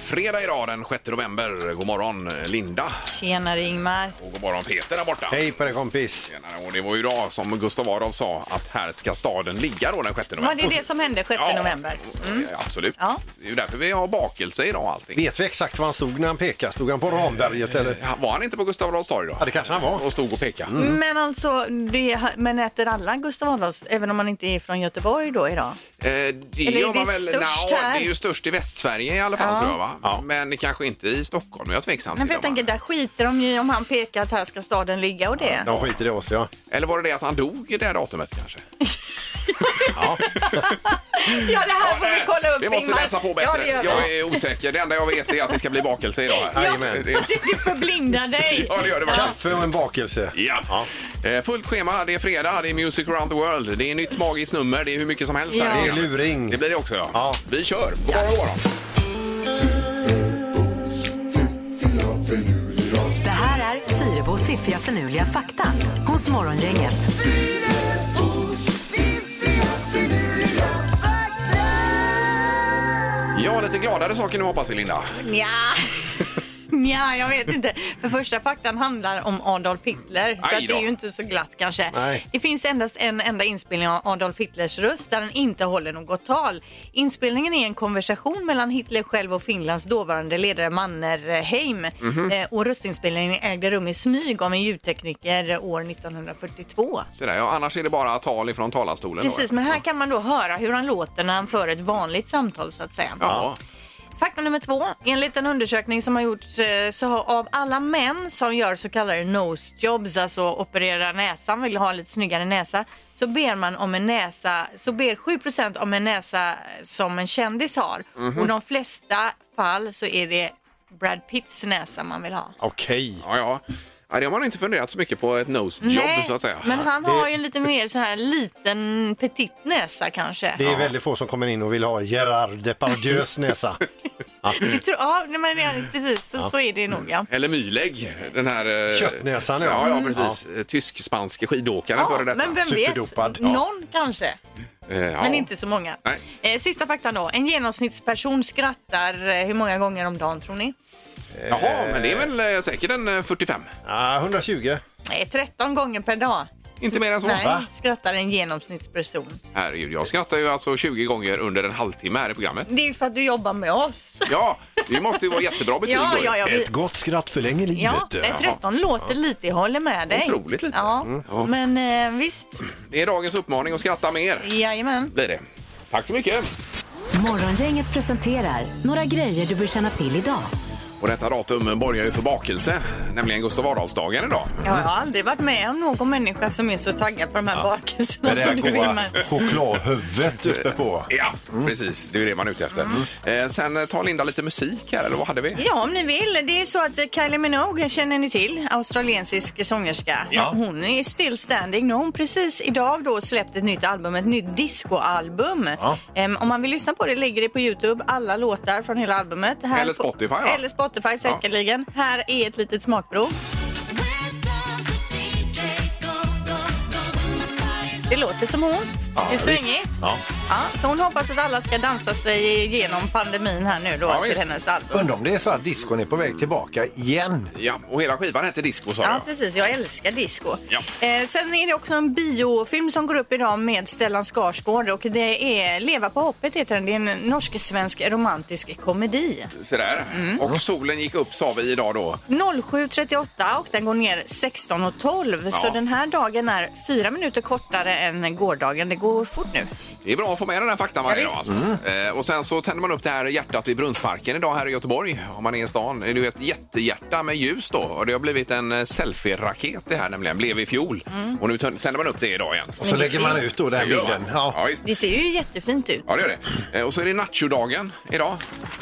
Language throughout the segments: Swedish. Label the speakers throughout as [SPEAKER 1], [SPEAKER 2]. [SPEAKER 1] fredag idag den 6 november. God morgon Linda
[SPEAKER 2] Tjenare Ingmar.
[SPEAKER 1] och god morgon Peter där borta.
[SPEAKER 3] Hej på dig kompis!
[SPEAKER 1] Tjenare. Och det var ju idag som Gustav Adolf sa att här ska staden ligga då den 6 november.
[SPEAKER 2] Var det det som hände 6
[SPEAKER 1] Ja,
[SPEAKER 2] november? Mm.
[SPEAKER 1] eh, Absolut.
[SPEAKER 2] Ja.
[SPEAKER 1] Det är ju därför vi har bakelse idag och allting.
[SPEAKER 3] Vet vi exakt var han stod när han pekade? Stod han på Ramberget eller?
[SPEAKER 1] Ja, Var han inte på Gustav Adolfs torg då?
[SPEAKER 3] Ja, det kanske han var. Mm.
[SPEAKER 1] Och stod och pekade. Eh,
[SPEAKER 2] Men alltså, det, men äter alla Gustav Adolfs, även om man inte är från Göteborg då idag?
[SPEAKER 1] Eh, det
[SPEAKER 2] Eller är
[SPEAKER 1] gör man
[SPEAKER 2] det
[SPEAKER 1] väl...
[SPEAKER 2] störst
[SPEAKER 1] Nå,
[SPEAKER 2] här?
[SPEAKER 1] Det är ju störst i Västsverige i alla fall
[SPEAKER 2] Ja.
[SPEAKER 1] tror jag va? Men kanske inte i Stockholm. Jag är tveksam till
[SPEAKER 2] Men för jag
[SPEAKER 1] om han-
[SPEAKER 2] tänker, där skiter de ju om han pekar att här ska staden ligga och det.
[SPEAKER 3] De skiter i oss ja.
[SPEAKER 1] Eller var det det att han dog i det här datumet kanske?
[SPEAKER 2] Ja, det här
[SPEAKER 1] Ja,
[SPEAKER 2] får vi
[SPEAKER 1] nej,
[SPEAKER 2] kolla upp
[SPEAKER 1] Vi måste
[SPEAKER 2] Ingmar.
[SPEAKER 1] läsa på bättre.
[SPEAKER 2] Ja, det gör vi.
[SPEAKER 1] jag är osäker. Det enda jag vet är att det ska bli bakelse idag.
[SPEAKER 3] Ja, jajamän.
[SPEAKER 1] Det-
[SPEAKER 2] Du förblindar dig.
[SPEAKER 1] Ja, det gör det faktiskt.
[SPEAKER 3] Kaffe och en bakelse.
[SPEAKER 1] Ja. Eh, Fullt schema, det är fredag, det är Music around the world, det är nytt magiskt nummer, det är hur mycket som helst.
[SPEAKER 2] Ja.
[SPEAKER 1] här i
[SPEAKER 2] Det
[SPEAKER 3] är
[SPEAKER 1] programmet.
[SPEAKER 3] luring.
[SPEAKER 1] Det blir det också ja.
[SPEAKER 3] Ja.
[SPEAKER 1] Vi kör! God morgon, god morgon.
[SPEAKER 4] Det här är Fyrebos fiffiga förnuliga fakta hos Morgongänget.
[SPEAKER 1] Ja, lite gladare saker nu hoppas vi Linda.
[SPEAKER 2] Nja. Nja, jag vet inte. För första faktan handlar om Adolf Hitler.
[SPEAKER 1] Aj
[SPEAKER 2] Så att det
[SPEAKER 1] då.
[SPEAKER 2] är ju inte så glatt kanske.
[SPEAKER 3] Nej.
[SPEAKER 2] Det finns endast en enda inspelning av Adolf Hitlers röst där han inte håller något tal. Inspelningen är en konversation mellan Hitler själv och Finlands dåvarande ledare Mannerheim.
[SPEAKER 1] Mhm.
[SPEAKER 2] Eh, Och röstinspelningen ägde rum i smyg av en ljudtekniker år 1942.
[SPEAKER 1] Så där, ja, annars är det bara tal ifrån talarstolen.
[SPEAKER 2] Precis,
[SPEAKER 1] då.
[SPEAKER 2] men här kan man då höra hur han låter när han för ett vanligt samtal så att säga.
[SPEAKER 1] Ja.
[SPEAKER 2] Fakta nummer två. Enligt en undersökning som har gjorts eh, så har av alla män som gör så kallade nose jobs, alltså opererar näsan, vill ha en lite snyggare näsa, så ber man om en näsa, så ber 7 om en näsa som en kändis har. Och de flesta fall så är det Brad Pitts näsa man vill ha.
[SPEAKER 3] Okej.
[SPEAKER 1] Ja, ja. ja, det har man inte funderat så mycket på, ett nose job så att säga.
[SPEAKER 2] men han har ju en lite mer sån här liten petit näsa kanske.
[SPEAKER 3] Det är väldigt få som kommer in och vill ha Gerard Depardieu's näsa.
[SPEAKER 2] Det tror, ja, nej, men det är- precis så, så är det nog ja.
[SPEAKER 1] Eller mylägg, den här... eh,
[SPEAKER 3] Köttnäsan, ja.
[SPEAKER 1] Ja, ja
[SPEAKER 3] Mm.
[SPEAKER 1] precis. Eh, Tysk-spansk skidåkaren
[SPEAKER 2] Ja,
[SPEAKER 1] före detta.
[SPEAKER 2] men vem
[SPEAKER 3] Superdopad.
[SPEAKER 2] vet,
[SPEAKER 3] Ja.
[SPEAKER 2] någon kanske.
[SPEAKER 1] Eh, ja.
[SPEAKER 2] Men inte så många.
[SPEAKER 1] Nej.
[SPEAKER 2] Eh, sista faktan då. En genomsnittsperson skrattar eh, hur många gånger om dagen tror ni?
[SPEAKER 1] Jaha, men det är väl eh, säkert en eh, 45.
[SPEAKER 3] Ja, 120.
[SPEAKER 2] Nej, 13 Eh, gånger per dag.
[SPEAKER 1] Inte mer än så.
[SPEAKER 2] Nej,
[SPEAKER 3] Va?
[SPEAKER 2] skrattar en genomsnittsperson.
[SPEAKER 1] Herregud, jag skrattar ju alltså 20 gånger under en halvtimme här i programmet.
[SPEAKER 2] Det är ju för att du jobbar med oss.
[SPEAKER 1] Ja, det måste ju vara jättebra betyg
[SPEAKER 2] ja,
[SPEAKER 1] då ju.
[SPEAKER 2] ja, ja, vi,
[SPEAKER 3] gott skratt förlänger
[SPEAKER 2] ja, eh, 13 låter lite, jag håller med dig.
[SPEAKER 1] Otroligt lite. Mm,
[SPEAKER 2] Ja,
[SPEAKER 1] Ja.
[SPEAKER 2] men eh, visst.
[SPEAKER 1] Det är dagens uppmaning att skratta mer.
[SPEAKER 2] Jajamän.
[SPEAKER 1] Blir det. Tack så mycket.
[SPEAKER 4] Morgongänget presenterar några grejer du bör känna till idag.
[SPEAKER 1] Och detta datum borgar ju för bakelse, nämligen Gustav Adolfsdagen idag.
[SPEAKER 2] Jag har aldrig varit med om någon människa som är så taggad på de här
[SPEAKER 3] Med
[SPEAKER 2] bakelserna
[SPEAKER 3] det här
[SPEAKER 2] som du
[SPEAKER 3] goa
[SPEAKER 2] rimmar.
[SPEAKER 3] chokladhuvudet uppe på.
[SPEAKER 1] Ja, precis. Det är ju det man är ute efter.
[SPEAKER 2] Mm.
[SPEAKER 1] Eh, sen eh, tar Linda lite musik här, eller vad hade vi?
[SPEAKER 2] Ja, om ni vill. Det är så att Kylie Minogue känner ni till, australiensisk sångerska. Hon är still standing. Nu har hon precis idag då släppt ett nytt album, ett nytt discoalbum. Em, om man vill lyssna på det ligger det på Youtube, alla låtar från hela albumet. Här
[SPEAKER 1] Eller
[SPEAKER 2] på-
[SPEAKER 1] Spotify, va?
[SPEAKER 2] Eller Spotify säkerligen. Här är ett litet smakprov. Det låter som hon. det är svängigt.
[SPEAKER 3] Ja.
[SPEAKER 2] Ja, så hon hoppas att alla ska dansa sig igenom pandemin här nu då
[SPEAKER 1] Ja,
[SPEAKER 2] till
[SPEAKER 1] visst.
[SPEAKER 2] hennes album.
[SPEAKER 3] Undrar om det är så att diskon är på väg tillbaka igen.
[SPEAKER 1] Ja, och hela skivan hette Disco sa
[SPEAKER 2] Ja,
[SPEAKER 1] jag.
[SPEAKER 2] precis. Jag älskar disco.
[SPEAKER 1] Ja.
[SPEAKER 2] Eh, sen är det också en biofilm som går upp idag med Stellan Skarsgård och det är Leva på hoppet heter den. Det är en norsk-svensk romantisk komedi.
[SPEAKER 1] Se där.
[SPEAKER 2] Mm.
[SPEAKER 1] Och solen gick upp sa vi idag då.
[SPEAKER 2] 07.38 och den går ner 16.12
[SPEAKER 1] Ja.
[SPEAKER 2] så den här dagen är fyra minuter kortare än gårdagen. Det går fort nu.
[SPEAKER 1] Det är bra får med den här faktan varje
[SPEAKER 2] Ja,
[SPEAKER 1] dag. Alltså. Eh, och sen så tänder man upp det här hjärtat i Brunnsparken idag här i Göteborg. Om man är i stan. Det är ju ett jättehjärta med ljus då. Och det har blivit en eh, selfie-raket det här nämligen. Blev i fjol. Och nu tön- tänder man upp det idag igen.
[SPEAKER 3] Och så lägger man ut då den
[SPEAKER 1] Ja,
[SPEAKER 3] bilden. Ja.
[SPEAKER 1] ja, visst.
[SPEAKER 2] Det ser ju jättefint ut.
[SPEAKER 1] Ja, det gör det. Eh, Och så är det nachodagen idag.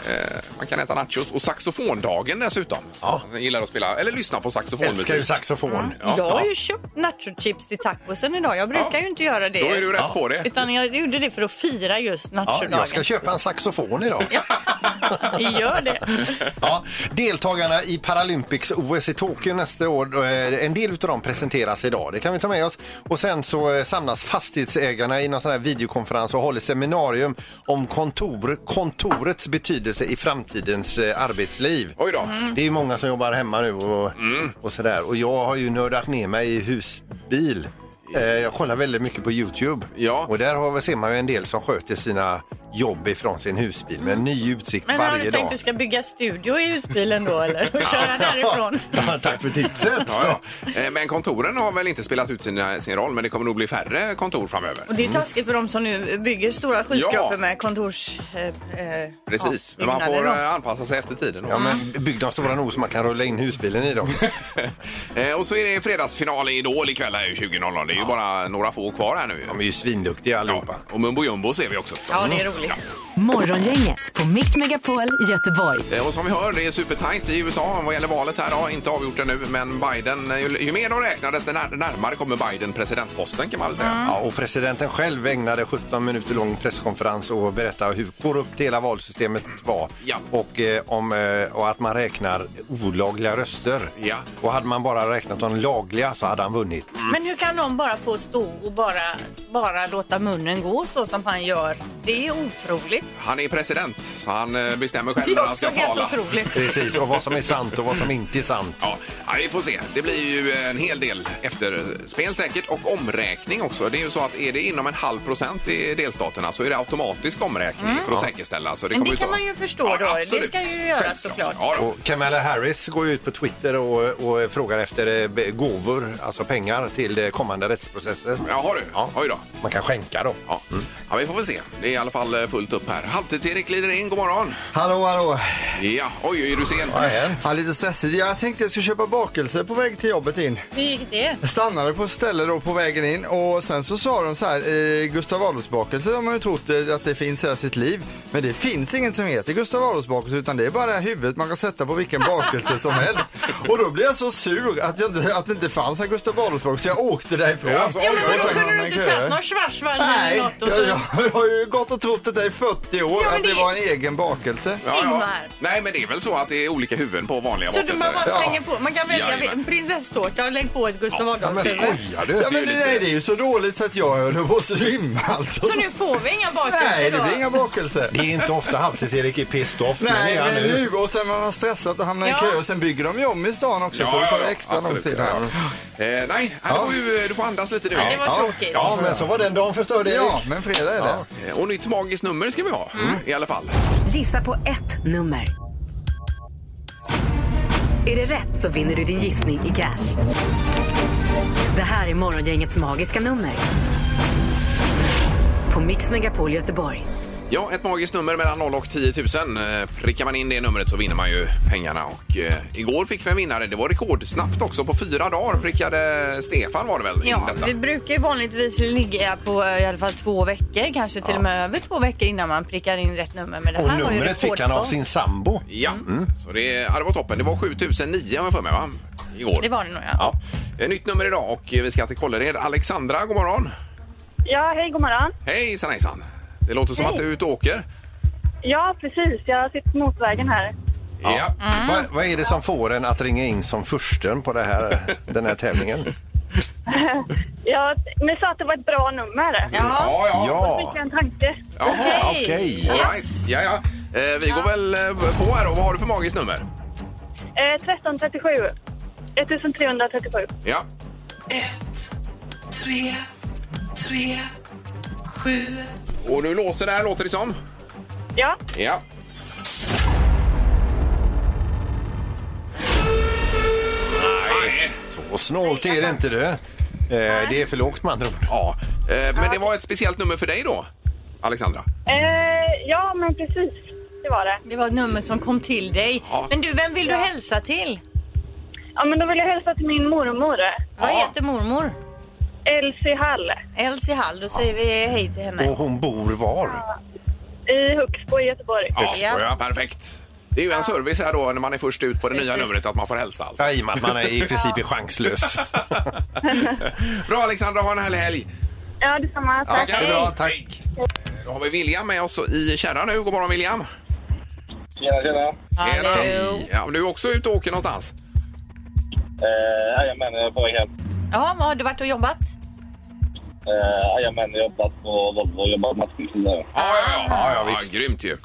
[SPEAKER 1] Eh, Man kan äta nachos. Och saxofondagen dessutom.
[SPEAKER 3] Ja.
[SPEAKER 1] Jag gillar att spela, eller lyssna på saxofonmusik.
[SPEAKER 3] Älskar ju saxofon.
[SPEAKER 1] Ja.
[SPEAKER 2] jag har ju köpt nachochips till tacosen idag. Jag brukar
[SPEAKER 1] Ja.
[SPEAKER 2] ju inte göra det.
[SPEAKER 1] Då är du rätt på det.
[SPEAKER 2] Utan jag gjorde det för att fira just
[SPEAKER 3] Ja,
[SPEAKER 2] nachodagen.
[SPEAKER 3] jag ska köpa en saxofon idag.
[SPEAKER 2] Gör det.
[SPEAKER 3] Ja, deltagarna i Paralympics OS i Tokyo nästa år, eh, en del av dem presenteras idag. Det kan vi ta med oss. Och sen så eh, samlas fastighetsägarna i någon sån här videokonferens och håller seminarium om kontor, kontorets betydelse i framtidens eh, arbetsliv. Mm.
[SPEAKER 1] Oj då. Mm.
[SPEAKER 3] Det är ju många som jobbar hemma nu och, och sådär. Och jag har ju nördat ner mig i husbil. Eh, Jag kollar väldigt mycket på Youtube
[SPEAKER 1] Ja.
[SPEAKER 3] och där har, ser man ju en del som sköter sina jobb ifrån sin husbil med en ny utsikt
[SPEAKER 2] Men har
[SPEAKER 3] varje
[SPEAKER 2] du
[SPEAKER 3] dag.
[SPEAKER 2] tänkt att du ska bygga studio i husbilen då eller? Och köra därifrån?
[SPEAKER 3] Ja, tack för tipset.
[SPEAKER 1] Ja, ja. Eh, Men kontoren har väl inte spelat ut sina, sin roll, men det kommer nog bli färre kontor framöver.
[SPEAKER 2] Och det är ju taskigt för de som nu bygger stora skyskrapor
[SPEAKER 1] Ja.
[SPEAKER 2] med kontors... Eh, eh,
[SPEAKER 1] Precis,
[SPEAKER 2] ja,
[SPEAKER 1] men man får
[SPEAKER 2] byggnader då.
[SPEAKER 1] eh, anpassa sig efter tiden.
[SPEAKER 3] Ja, men bygg dem stora nog så man kan rulla in husbilen i dem.
[SPEAKER 1] Eh, Och så är det fredagsfinal i Idol ikväll här ju 20.00. Det är ju bara några få kvar här nu.
[SPEAKER 3] De är ju svinduktiga allihopa.
[SPEAKER 1] Ja, Och Mumbo Jumbo ser vi också. Mm.
[SPEAKER 2] Ja, det är roligt.
[SPEAKER 4] Morgongänget på Mix Megapol Göteborg.
[SPEAKER 1] Eh, Och som vi hör, det är supertajt i USA vad gäller valet här. Ja, inte avgjort ännu, men Biden, eh, ju, ju mer de räknar desto när, närmare kommer Biden presidentposten kan man väl säga.
[SPEAKER 2] Mm.
[SPEAKER 3] Ja, och presidenten själv ägnade 17 minuter lång presskonferens och berättade hur korrupt hela valsystemet var
[SPEAKER 1] Ja.
[SPEAKER 3] och, eh, om, eh, och att man räknar olagliga röster.
[SPEAKER 1] Ja.
[SPEAKER 3] Och hade man bara räknat de lagliga så hade han vunnit.
[SPEAKER 2] Men hur kan de bara få stå och bara, bara låta munnen gå så som han gör? Det är otroligt.
[SPEAKER 1] Han är president, så han eh, bestämmer
[SPEAKER 2] Det
[SPEAKER 1] själv när
[SPEAKER 2] är
[SPEAKER 1] han
[SPEAKER 2] också
[SPEAKER 1] ska
[SPEAKER 2] helt
[SPEAKER 1] tala.
[SPEAKER 2] otroligt.
[SPEAKER 3] Precis, och vad som är sant och vad som inte är sant.
[SPEAKER 1] Ja, ja, vi får se. Det blir ju en hel del efterspel säkert och omräkning också. Det är ju så att är det inom en halv procent i delstaterna så är det automatisk omräkning för att säkerställa. Så det
[SPEAKER 2] Mm.
[SPEAKER 1] kommer
[SPEAKER 2] Men det
[SPEAKER 1] ta-
[SPEAKER 2] kan man ju förstå då. Det
[SPEAKER 1] absolut.
[SPEAKER 2] ska ju göras
[SPEAKER 1] Självklart.
[SPEAKER 2] såklart.
[SPEAKER 1] Ja, då.
[SPEAKER 3] Och Kamala Harris går ju ut på Twitter och, och frågar efter eh, be- gåvor, alltså pengar till eh, kommande rättsprocesser.
[SPEAKER 1] Jaha du,
[SPEAKER 3] Ja.
[SPEAKER 1] oj då.
[SPEAKER 3] Man kan skänka dem.
[SPEAKER 1] Ja.
[SPEAKER 2] Mm.
[SPEAKER 1] ja, vi får väl se. Det är i alla fall eh, fullt upp här. Halvtids-Erik glider in, god morgon.
[SPEAKER 5] Hallå, hallå.
[SPEAKER 1] Ja, oj, är du sen?
[SPEAKER 3] Vad har hänt?
[SPEAKER 5] Ja, lite stressigt. Jag tänkte jag skulle köpa bakelse på väg till jobbet in.
[SPEAKER 2] Hur gick det?
[SPEAKER 5] Jag stannade på ett ställe då på vägen in och sen så sa de så här, eh, Gustav Adolfsbakelse har man ju trott eh, att det finns hela sitt liv. Men det finns inget som heter Gustav Adolfsbakelse utan det är bara det här huvudet man kan sätta på vilken bakelse som helst. Och då blev jag så sur att, jag, inte- att det inte fanns en Gustav Adolfsbakelse. Jag åkte därifrån.
[SPEAKER 1] Ja, alltså, oj, oj,
[SPEAKER 5] Och
[SPEAKER 1] oj.
[SPEAKER 5] sen
[SPEAKER 2] Kunde
[SPEAKER 5] hamnade
[SPEAKER 2] du
[SPEAKER 5] jag i
[SPEAKER 2] inte
[SPEAKER 5] köer.
[SPEAKER 2] tagit någon schwarzwald
[SPEAKER 5] Nej,
[SPEAKER 2] eller
[SPEAKER 5] jag,
[SPEAKER 2] något? Och så...
[SPEAKER 5] jag, har ju gått och trott detta i 40 år,
[SPEAKER 2] men
[SPEAKER 5] att det
[SPEAKER 2] det-
[SPEAKER 5] var en egen bakelse.
[SPEAKER 1] Ja, ja.
[SPEAKER 2] Ingmar.
[SPEAKER 1] Nej, men det är väl så att det är olika huvuden på vanliga
[SPEAKER 2] Så du man
[SPEAKER 1] bakelser.
[SPEAKER 2] bara slänger på. Man kan välja
[SPEAKER 1] Jajamän.
[SPEAKER 2] en prinsesstårta och lägg på ett Gustav Adolfshuvud.
[SPEAKER 3] Skojar du?
[SPEAKER 5] Ja, men det, nej, det är ju så dåligt så att jag höll på att svimma alltså.
[SPEAKER 6] Så nu får vi inga bakelser
[SPEAKER 5] nej, det
[SPEAKER 6] då?
[SPEAKER 5] blir inga bakelser.
[SPEAKER 3] Det är inte ofta halvtids-Erik är pissed off, men det
[SPEAKER 5] Nej,
[SPEAKER 3] är han
[SPEAKER 5] men
[SPEAKER 3] nu.
[SPEAKER 5] nu och sen man har stressat och hamnat
[SPEAKER 6] Ja.
[SPEAKER 5] i kö och sen bygger de ju om i stan också så det tar extra
[SPEAKER 1] absolut.
[SPEAKER 5] lång tid. Här.
[SPEAKER 1] Ja. Eh, nej, här
[SPEAKER 5] Ja.
[SPEAKER 1] får ju, du får andas lite nu.
[SPEAKER 6] Det var tråkigt.
[SPEAKER 3] Ja, men så var den dagen förstörd, Erik.
[SPEAKER 5] Ja, men fredag är det.
[SPEAKER 1] Eh, Och nytt magiskt nummer ska vi ha i alla fall.
[SPEAKER 4] Gissa på ett nummer. Är det rätt så vinner du din gissning i cash. Det här är Morgongängets magiska nummer. På Mix Megapol Göteborg.
[SPEAKER 1] Ja, ett magiskt nummer mellan 0 och 10 000. Eh, Prickar man in det numret så vinner man ju pengarna. Och eh, igår fick vi en vinnare. Det var rekordsnabbt också. På fyra dagar prickade Stefan var det väl? in
[SPEAKER 2] Ja,
[SPEAKER 1] detta.
[SPEAKER 2] vi brukar ju vanligtvis ligga på eh, i alla fall två veckor, kanske till och med över två veckor innan man prickar in rätt nummer. Men det
[SPEAKER 3] Och
[SPEAKER 2] här var ju
[SPEAKER 3] numret fick han av
[SPEAKER 2] rekordfart.
[SPEAKER 3] sin sambo.
[SPEAKER 1] Ja, Mm. så det, ja, det var toppen. Det var 7009 har jag för mig, va? Igår.
[SPEAKER 2] Det var det nog, ja.
[SPEAKER 1] Ja. Eh, Nytt nummer idag och eh, vi ska till Kållered. Alexandra, god morgon.
[SPEAKER 7] Ja, hej, god morgon.
[SPEAKER 1] Hejsan, hejsan. Det låter som
[SPEAKER 7] Hej.
[SPEAKER 1] att du är ute och åker.
[SPEAKER 7] Ja, precis. Jag sitter på motorvägen här.
[SPEAKER 1] Ja.
[SPEAKER 3] Vad, vad är det som får en att ringa in som försten på det här, den här tävlingen?
[SPEAKER 7] Ja, ni sa att det var ett bra nummer.
[SPEAKER 1] Ja, ja.
[SPEAKER 7] Då fick jag en tanke.
[SPEAKER 1] Jaha,
[SPEAKER 3] Okej.
[SPEAKER 1] All right. Ja, ja. Eh, vi går väl eh, på här då. Vad har du för magiskt nummer?
[SPEAKER 7] Eh, 1337. 1337.
[SPEAKER 1] Ja.
[SPEAKER 8] Tre, tre, sju.
[SPEAKER 1] Och du låser där låter det som.
[SPEAKER 7] Ja,
[SPEAKER 1] Ja. Nej.
[SPEAKER 3] Så snålt är det inte du. Eh, det är för lågt med andra ord.
[SPEAKER 1] Ja. Eh, Men det var ett speciellt nummer för dig då? Alexandra?
[SPEAKER 7] Eh, ja, men precis. Det var det.
[SPEAKER 2] Det var ett nummer som kom till dig.
[SPEAKER 1] Ja.
[SPEAKER 2] Men du, vem vill du hälsa till?
[SPEAKER 7] Ja, men då vill jag hälsa till min mormor,
[SPEAKER 2] Vad heter mormor?
[SPEAKER 7] Elsie Hall,
[SPEAKER 2] Elsie Hall, då säger vi hej till henne.
[SPEAKER 3] Och hon bor var?
[SPEAKER 7] i Huxbo i Göteborg.
[SPEAKER 1] Ja,
[SPEAKER 2] Ja.
[SPEAKER 1] ja. perfekt. Det är ju en service här då när man är först ut på det nya
[SPEAKER 2] Precis.
[SPEAKER 1] numret att man får hälsa alltså.
[SPEAKER 3] Jajamän, man är i princip chanslös.
[SPEAKER 1] Bra Alexandra, ha en härlig helg.
[SPEAKER 7] Ja, detsamma. Tack.
[SPEAKER 1] Ja, bra, tack. Då har vi William med oss i kärran nu. God morgon William.
[SPEAKER 9] Tjena, tjena.
[SPEAKER 1] Tjena.
[SPEAKER 2] Hallå.
[SPEAKER 1] Ja, men du är också ute och åker någonstans?
[SPEAKER 9] Eh, Jajamän, jag är på väg hem.
[SPEAKER 2] Ja, vad har du varit och jobbat?
[SPEAKER 9] Eh, Jajamän, jag har jobbat på Volvo och jobbat matchning nu.
[SPEAKER 1] Ja, ja, ja. ja, ja, visst. grymt ju.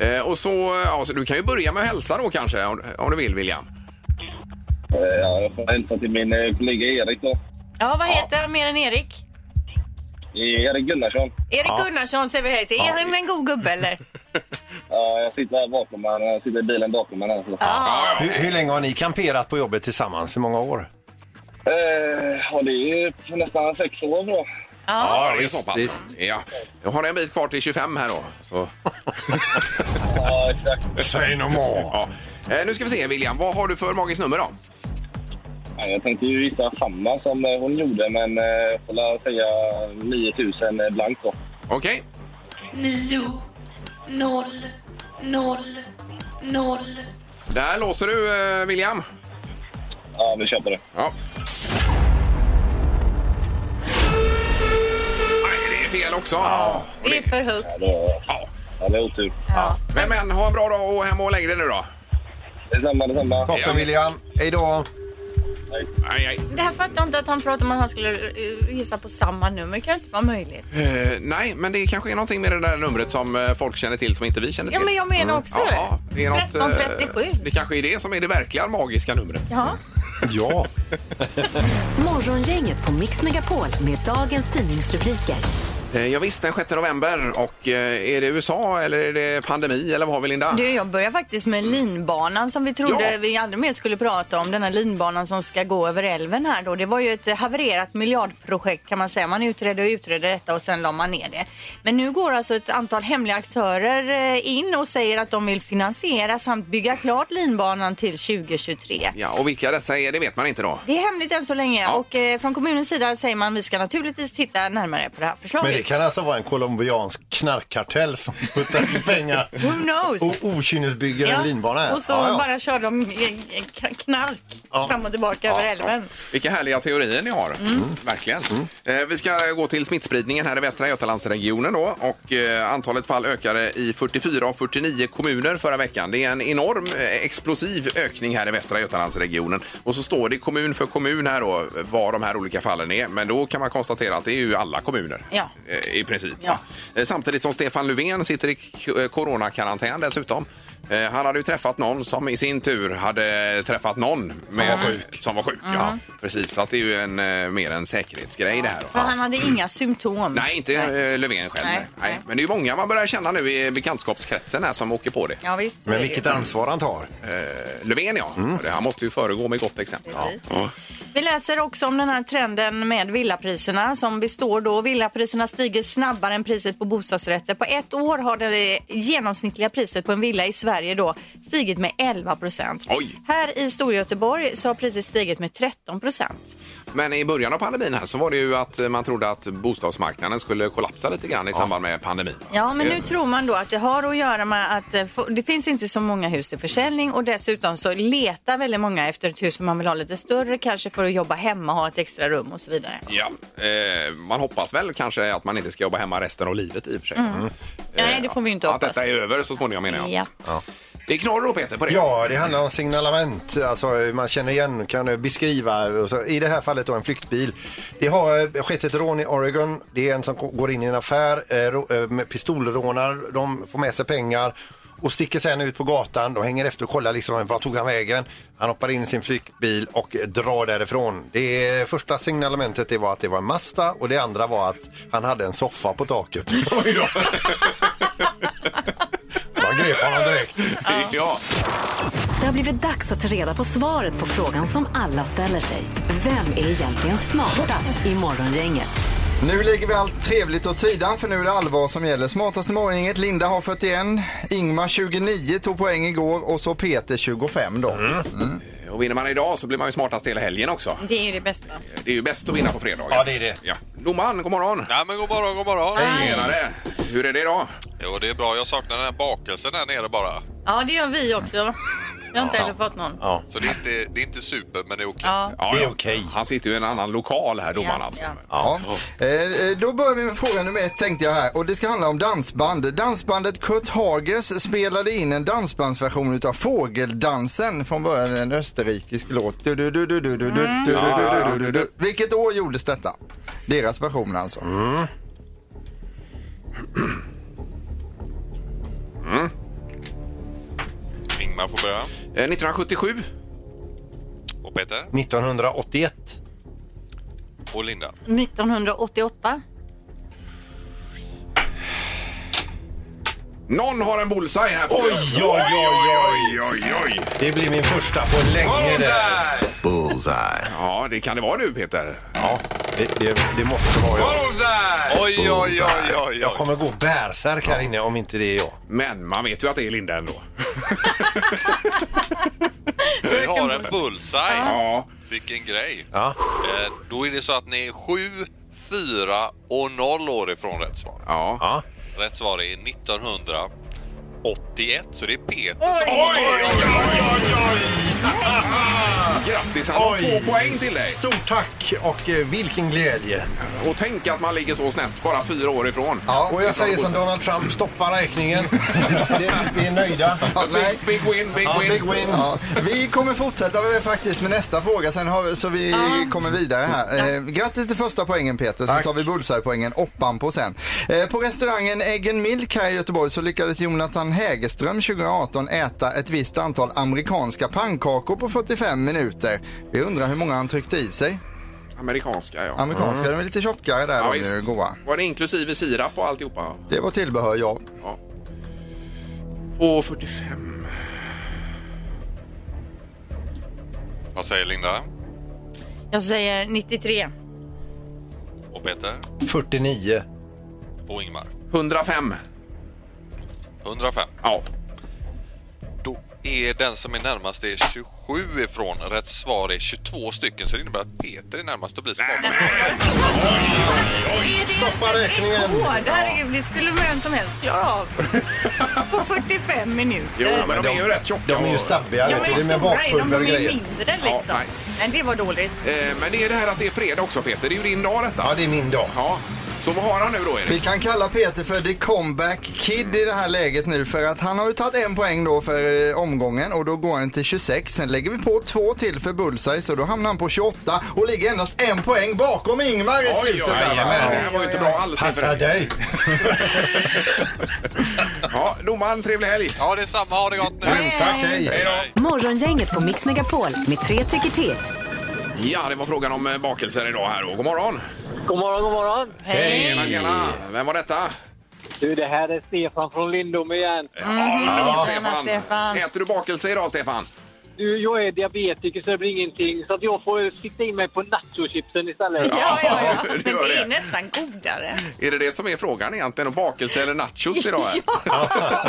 [SPEAKER 1] Eh, och så, ja, så du kan ju börja med att hälsa då kanske om, om du vill William.
[SPEAKER 9] Eh, ja, jag får hälsa till min eh, kollega Erik då.
[SPEAKER 2] Ja, vad heter han mer än Erik?
[SPEAKER 9] Erik Gunnarsson.
[SPEAKER 2] Erik Gunnarsson säger vi hej till. Är han en god gubbe eller?
[SPEAKER 9] Ja, jag sitter här bakom honom. Jag sitter i bilen bakom honom. Alltså.
[SPEAKER 3] Hur, hur länge har ni kamperat på jobbet tillsammans? Hur många år?
[SPEAKER 9] Eh, ja, det är nästan sex år då.
[SPEAKER 1] Ja, det är så pass. Ja. Jag har en bit kvar till 25 här då. Så.
[SPEAKER 9] Ja, exakt.
[SPEAKER 3] Säg no more.
[SPEAKER 1] Ja. Eh, nu ska vi se William, vad har du för magiskt nummer då?
[SPEAKER 9] Ja, jag tänkte ju gissa samma som eh, hon gjorde, men eh, jag får väl säga 9000 eh, blankt då.
[SPEAKER 1] Okej. Nio, noll, noll, noll. Där låser du eh, William.
[SPEAKER 9] Ja, vi kör på det.
[SPEAKER 1] Ja. Nej, det är fel också. Ja.
[SPEAKER 2] Det är för högt.
[SPEAKER 9] Ja, det var- ja, det är otur.
[SPEAKER 1] Men, men ha en bra dag och hem och lägg dig nu då.
[SPEAKER 9] Detsamma, detsamma.
[SPEAKER 3] Toppen William. Hej då.
[SPEAKER 1] Aj, aj.
[SPEAKER 2] Det här fattar jag inte att han pratar om att han skulle eh, gissa på samma nummer. Det kan inte vara möjligt.
[SPEAKER 1] Eh, nej, men det kanske är någonting med det där numret som eh, folk känner till som inte vi känner till. Mm.
[SPEAKER 2] Ja, men jag menar också det.
[SPEAKER 1] Ja, det är något, eh,
[SPEAKER 2] 1337.
[SPEAKER 1] Det kanske är det som är det verkliga magiska numret.
[SPEAKER 2] Ja.
[SPEAKER 3] Ja.
[SPEAKER 4] Morgongänget på Mix Megapol med dagens tidningsrubriker.
[SPEAKER 1] Eh, Jag visste den 6 november och eh, är det USA eller är det pandemi eller vad har vi Linda?
[SPEAKER 2] Du, jag börjar faktiskt med linbanan som vi trodde
[SPEAKER 1] Ja.
[SPEAKER 2] vi aldrig mer skulle prata om. Den här linbanan som ska gå över älven här då. Det var ju ett eh, havererat miljardprojekt kan man säga. Man utredde och utredde detta och sen la man ner det. Men nu går alltså ett antal hemliga aktörer eh, in och säger att de vill finansiera samt bygga klart linbanan till 2023.
[SPEAKER 1] Ja, och vilka dessa är det vet man inte då.
[SPEAKER 2] Det är hemligt än så länge
[SPEAKER 1] Ja.
[SPEAKER 2] och eh, från kommunens sida säger man vi ska naturligtvis titta närmare på det här förslaget.
[SPEAKER 3] Men det kan alltså vara en colombiansk knarkkartell som puttar in pengar
[SPEAKER 6] Who knows?
[SPEAKER 3] och okynnesbygger en linbana. här.
[SPEAKER 6] Och så
[SPEAKER 3] Ja, ja.
[SPEAKER 6] bara kör de eh, eh, knark
[SPEAKER 3] Ja.
[SPEAKER 6] fram och tillbaka över älven.
[SPEAKER 1] Vilka härliga teorier ni har.
[SPEAKER 2] Mm.
[SPEAKER 1] Mm. Verkligen. Eh, vi ska gå till smittspridningen här i Västra Götalandsregionen då. Och eh, antalet fall ökade i 44 av 49 kommuner förra veckan. Det är en enorm eh, explosiv ökning här i Västra Götalandsregionen. Och så står det kommun för kommun här då var de här olika fallen är. Men då kan man konstatera att det är ju alla kommuner.
[SPEAKER 2] Ja.
[SPEAKER 1] Eh, I princip.
[SPEAKER 2] Ja.
[SPEAKER 1] Eh, Samtidigt som Stefan Löfven sitter i k- eh, coronakarantän dessutom. Eh, Han hade ju träffat någon som i sin tur hade träffat någon med, som var sjuk. Som var sjuk ja. Precis, så att det är ju en, eh, mer en säkerhetsgrej det här. då.
[SPEAKER 2] För han hade inga symptom.
[SPEAKER 1] Nej, inte eh, Löfven själv. Nej.
[SPEAKER 2] Nej,
[SPEAKER 1] Nej.
[SPEAKER 2] nej.
[SPEAKER 1] Men det är ju många man börjar känna nu i bekantskapskretsen här som åker på det.
[SPEAKER 2] Ja, visst, så är
[SPEAKER 3] Men
[SPEAKER 2] det ju.
[SPEAKER 3] vilket ansvar han tar.
[SPEAKER 1] Eh, Löfven ja, Det- han måste ju föregå med gott exempel.
[SPEAKER 2] Precis.
[SPEAKER 1] Ja.
[SPEAKER 2] Vi läser också om den här trenden med villapriserna som består då. Villapriserna stiger snabbare än priset på bostadsrätter. På ett år har det genomsnittliga priset på en villa i Sverige då stigit med 11 procent.
[SPEAKER 1] Oj.
[SPEAKER 2] Här i Storgöteborg så har priset stigit med 13 procent.
[SPEAKER 1] Men i början av pandemin här så var det ju att eh, man trodde att bostadsmarknaden skulle kollapsa lite grann i samband med pandemin. Eh,
[SPEAKER 2] Ja, men
[SPEAKER 1] Det-
[SPEAKER 2] nu tror man då att det har att göra med att eh, få- det finns inte så många hus till försäljning och dessutom så letar väldigt många efter ett hus som man vill ha lite större, kanske för att jobba hemma, ha ett extra rum och så vidare.
[SPEAKER 1] Ja, eh, man hoppas väl kanske att man inte ska jobba hemma resten av livet i och för sig. Eh,
[SPEAKER 2] Mm. Nej, det får vi inte
[SPEAKER 1] Att
[SPEAKER 2] hoppas.
[SPEAKER 1] detta är över så småningom menar jag.
[SPEAKER 2] Ja.
[SPEAKER 1] Det är knorr då Peter på det.
[SPEAKER 3] Ja, det handlar om signalement. Alltså hur man känner igen, kan beskriva. Och så, I det här fallet då en flyktbil. Det har eh, skett ett rån i Oregon. Det är en som ko- går in i en affär eh, rå- eh, med pistolrånar. De får med sig pengar och sticker sen ut på gatan. De hänger efter och kollar liksom, vad tog han vägen. Han hoppar in i sin flyktbil och eh, drar därifrån. Det eh, första signalementet det var att det var en Mazda och det andra var att han hade en soffa på taket.
[SPEAKER 1] Oj då.
[SPEAKER 3] Man grep honom direkt.
[SPEAKER 1] ja.
[SPEAKER 4] Det har blivit dags att ta reda på svaret på frågan som alla ställer sig. Vem är egentligen smartast i Morgongänget?
[SPEAKER 5] Nu lägger vi allt trevligt åt sidan för nu är det allvar som gäller. Smartaste morgongänget, Linda har 41, Ingmar 29 tog poäng igår och så Peter 25 då. Mm.
[SPEAKER 1] Och vinner man idag så blir man ju smartast hela helgen också.
[SPEAKER 2] Det är ju det bästa.
[SPEAKER 1] Det är ju bäst att vinna på fredagar. Ja, det är det. Ja. Domaren, god morgon!
[SPEAKER 10] Ja, men god morgon, god morgon!
[SPEAKER 1] Tjenare! Hur är det idag?
[SPEAKER 10] Jo, det är bra. Jag saknar den här bakelsen där nere bara.
[SPEAKER 2] Ja, det gör vi också. Jag har inte heller fått någon.
[SPEAKER 10] Så det är, inte, det är inte super, men det är okej.
[SPEAKER 2] Ja.
[SPEAKER 1] det är okej. Han sitter ju i en annan lokal här, domaren
[SPEAKER 2] Ja,
[SPEAKER 1] alltså.
[SPEAKER 2] ja.
[SPEAKER 5] Ja. Eh, eh, Då börjar vi med fråga nummer ett tänkte jag här och det ska handla om dansband. Dansbandet Kurt Hagers spelade in en dansbandsversion utav Fågeldansen från början en österrikisk låt. Du, du, du, du, du, du, du, du, du, du, du, du, du. Vilket år gjordes detta? Deras version alltså.
[SPEAKER 10] Ingmar får börja.
[SPEAKER 1] Eh, 1977.
[SPEAKER 10] Och Peter
[SPEAKER 3] 1981.
[SPEAKER 10] och Linda.
[SPEAKER 2] 1988.
[SPEAKER 1] Någon har en bullseye här.
[SPEAKER 3] Oj, oj, oj,
[SPEAKER 1] oj, oj.
[SPEAKER 3] Det blir min första på länge. Det,
[SPEAKER 1] Bullseye! Ja, det kan det vara du Peter. Ja,
[SPEAKER 3] det, det, det måste vara jag.
[SPEAKER 10] Oj, oj, oj, oj,
[SPEAKER 3] Jag kommer gå bärsärk här inne om inte det är jag.
[SPEAKER 1] Men man vet ju att det är Linda ändå.
[SPEAKER 10] Vi har en bullseye.
[SPEAKER 1] Ja.
[SPEAKER 10] Vilken grej.
[SPEAKER 3] Ja.
[SPEAKER 10] Eh, då är det så att ni är 7, 4 och 0 år ifrån rätt svar.
[SPEAKER 1] Ja.
[SPEAKER 3] Ja.
[SPEAKER 10] Rätt svar är 1981, så det är Peter.
[SPEAKER 2] Oj!
[SPEAKER 1] Grattis, han har
[SPEAKER 3] Oj.
[SPEAKER 1] två poäng till dig.
[SPEAKER 3] Stort tack och eh, vilken glädje.
[SPEAKER 1] Och tänk att man ligger så snett, bara fyra år ifrån.
[SPEAKER 5] Ja,
[SPEAKER 3] Och jag säger som
[SPEAKER 1] bullseye.
[SPEAKER 3] Donald Trump, stoppa räkningen. Det- Vi är nöjda.
[SPEAKER 5] Ja, nej.
[SPEAKER 1] Big, big win, big
[SPEAKER 3] Ja,
[SPEAKER 1] win.
[SPEAKER 3] big win.
[SPEAKER 5] Ja, vi kommer fortsätta med, faktiskt med nästa fråga sen har vi, så vi kommer vidare här. Eh, grattis till första poängen Peter så
[SPEAKER 3] Tack.
[SPEAKER 5] tar vi bullseye-poängen oppan på sen. Eh, på restaurangen Eggen Milk här i Göteborg så lyckades Jonathan Hägerström 2018 äta ett visst antal amerikanska pannkakor på 45 minuter. Vi undrar hur många han tryckte i sig.
[SPEAKER 1] Amerikanska, ja.
[SPEAKER 5] Amerikanska, de är lite tjockare där
[SPEAKER 1] Mm. ja
[SPEAKER 5] de är
[SPEAKER 1] visst.
[SPEAKER 5] goa.
[SPEAKER 1] Var det inklusive sirap och alltihopa?
[SPEAKER 5] Det var tillbehör ja.
[SPEAKER 1] Ja. Och 45.
[SPEAKER 10] Vad säger Linda?
[SPEAKER 2] Jag säger 93.
[SPEAKER 10] Och Peter?
[SPEAKER 3] 49.
[SPEAKER 10] Och Ingmar?
[SPEAKER 1] 105.
[SPEAKER 10] 105.
[SPEAKER 1] Ja.
[SPEAKER 10] Då är den som är närmast det är 27 ifrån. Rätt svar är 22 stycken, så det innebär att Peter är närmast och blir smartast.
[SPEAKER 3] Stoppa räkningen.
[SPEAKER 2] Herregud, det skulle vem som helst klara av. På 45 minuter.
[SPEAKER 1] Jo, men de är ju rätt tjocka.
[SPEAKER 3] De är ju
[SPEAKER 1] och-
[SPEAKER 3] stabbiga.
[SPEAKER 2] Ja,
[SPEAKER 3] vet
[SPEAKER 2] men
[SPEAKER 3] du. Det är med
[SPEAKER 2] stora är de,
[SPEAKER 3] bakpulver och
[SPEAKER 2] de är ju
[SPEAKER 3] grejer.
[SPEAKER 2] mindre
[SPEAKER 1] Ja,
[SPEAKER 2] liksom.
[SPEAKER 1] nej.
[SPEAKER 2] men det var dåligt.
[SPEAKER 1] Eh, Men det är det här att det är fredag också Peter. Det är ju din dag detta.
[SPEAKER 3] Ja, det är min dag.
[SPEAKER 1] Ja. Så vad har han nu då
[SPEAKER 5] Vi
[SPEAKER 1] Erik?
[SPEAKER 5] kan kalla Peter för the comeback kid i det här läget nu för att han har ju tagit en poäng då för eh, omgången och då går han till 26. Sen lägger vi på två till för bullseye så då hamnar han på 28 och ligger endast en poäng bakom Ingmar i
[SPEAKER 1] Oj, oj,
[SPEAKER 5] slutet.
[SPEAKER 1] oj,
[SPEAKER 5] där, va?
[SPEAKER 1] det här var ju inte bra alls.
[SPEAKER 3] Passa dig.
[SPEAKER 1] Ja, domaren, trevlig helg!
[SPEAKER 10] Ja, det är samma. Ha det gott nu!
[SPEAKER 3] Tack, hej.
[SPEAKER 10] Hej då!
[SPEAKER 4] Morgongänget på Mix Megapol med tre tycker till.
[SPEAKER 1] Ja, det var frågan om eh, bakelser idag här och god morgon!
[SPEAKER 9] God morgon, god morgon.
[SPEAKER 1] Tjena, tjena! Vem var detta?
[SPEAKER 9] Du, det här är Stefan från Lindom igen.
[SPEAKER 1] Ja,
[SPEAKER 2] tjena, Stefan.
[SPEAKER 1] Äter du bakelse idag, Stefan?
[SPEAKER 9] Du, jag är diabetiker så det blir ingenting. Så att jag får sikta in mig på nachochipsen istället.
[SPEAKER 2] Ja, ja, ja.
[SPEAKER 1] det
[SPEAKER 2] Men
[SPEAKER 1] gör
[SPEAKER 2] det är
[SPEAKER 1] det.
[SPEAKER 2] nästan godare.
[SPEAKER 1] Är det det som är frågan egentligen? Om bakelse eller nachos idag? här?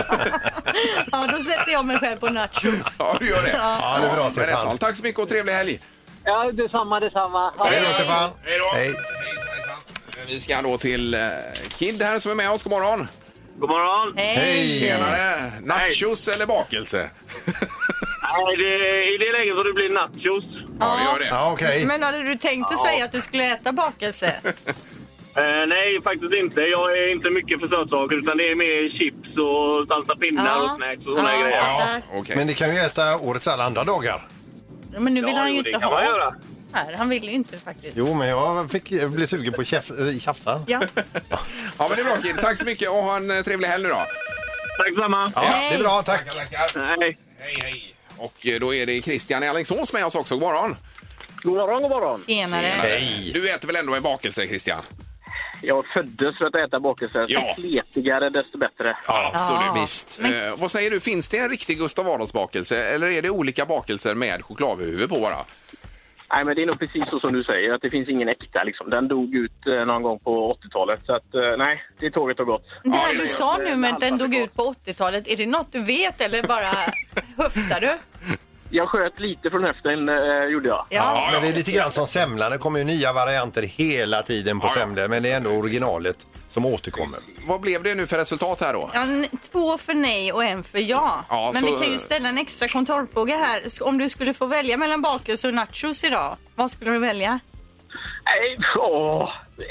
[SPEAKER 2] Ja, då sätter jag mig själv på nachos.
[SPEAKER 1] ja, du gör det.
[SPEAKER 3] Ja, det är bra,
[SPEAKER 1] Men rätt
[SPEAKER 3] Stefan.
[SPEAKER 1] tal. Tack så mycket och trevlig helg!
[SPEAKER 9] Ja, detsamma, detsamma.
[SPEAKER 3] Hej då, Stefan.
[SPEAKER 1] Hej då!
[SPEAKER 3] Hej.
[SPEAKER 1] Hejsan, hejsan. Eh, Vi ska då till eh, Kid här som är med oss. God morgon!
[SPEAKER 9] God morgon.
[SPEAKER 2] Hej!
[SPEAKER 1] Tjenare! Nachos eller bakelse?
[SPEAKER 9] Nej, det, I det läget får det bli nachos.
[SPEAKER 1] Ja, det gör det.
[SPEAKER 3] Ja, okej.
[SPEAKER 2] Men hade du tänkt att säga att du skulle äta bakelse?
[SPEAKER 9] Eh, nej, faktiskt inte. Jag är inte mycket för sötsaker utan det är mer chips och salsa pinnar
[SPEAKER 2] Ja.
[SPEAKER 9] och snacks och såna
[SPEAKER 2] Ja.
[SPEAKER 9] här grejer.
[SPEAKER 1] Ja, okej.
[SPEAKER 3] Men det kan ju äta årets alla andra dagar.
[SPEAKER 2] Men nu vill
[SPEAKER 9] Ja,
[SPEAKER 2] han ju
[SPEAKER 9] jo,
[SPEAKER 2] inte
[SPEAKER 9] det kan man
[SPEAKER 2] ha
[SPEAKER 9] göra.
[SPEAKER 2] här. Han vill ju inte faktiskt.
[SPEAKER 3] Jo, men jag fick, jag blev sugen på käf, äh, tjafsa.
[SPEAKER 2] Ja.
[SPEAKER 1] Ja, men det är bra Kid. Tack så mycket och ha en eh, trevlig helg nu då.
[SPEAKER 9] Tack samma.
[SPEAKER 3] Ja, det är bra, tack.
[SPEAKER 9] Nej.
[SPEAKER 1] Hej, hej. Och eh, då är det Christian i Alingsås med oss också. God morgon!
[SPEAKER 9] God morgon, god morgon.
[SPEAKER 2] Tjenare.
[SPEAKER 3] Hej.
[SPEAKER 1] Du äter väl ändå en bakelse Christian?
[SPEAKER 9] Jag föddes för att äta bakelser.
[SPEAKER 1] Ja.
[SPEAKER 9] Ju kletigare, desto bättre.
[SPEAKER 1] Ja,
[SPEAKER 2] absolut.
[SPEAKER 1] Visst. Eh, vad säger du, finns det en riktig Gustav Adolfs bakelse eller är det olika bakelser med chokladhuvud på bara?
[SPEAKER 9] Nej, men det är nog precis så som du säger, att det finns ingen äkta. Liksom. Den dog ut eh, någon gång på 80-talet. Så att, eh, nej, det tåget har gått.
[SPEAKER 2] Det här du sa nu med att den dog ut på 80-talet, är det något du vet eller bara höftar du?
[SPEAKER 9] Jag sköt lite från höften, eh, gjorde jag.
[SPEAKER 3] Ja, men det är lite grann som semlan. Det kommer ju nya varianter hela tiden på semlor. Men det är ändå originalet som återkommer.
[SPEAKER 1] Vad blev det nu för resultat här då?
[SPEAKER 2] Ja, n- två för nej och en för ja.
[SPEAKER 1] Ja,
[SPEAKER 2] Men
[SPEAKER 1] så-
[SPEAKER 2] vi kan ju ställa en extra kontrollfråga här. S- Om du skulle få välja mellan bakelse och nachos idag, vad skulle du välja?
[SPEAKER 9] Nej, åh,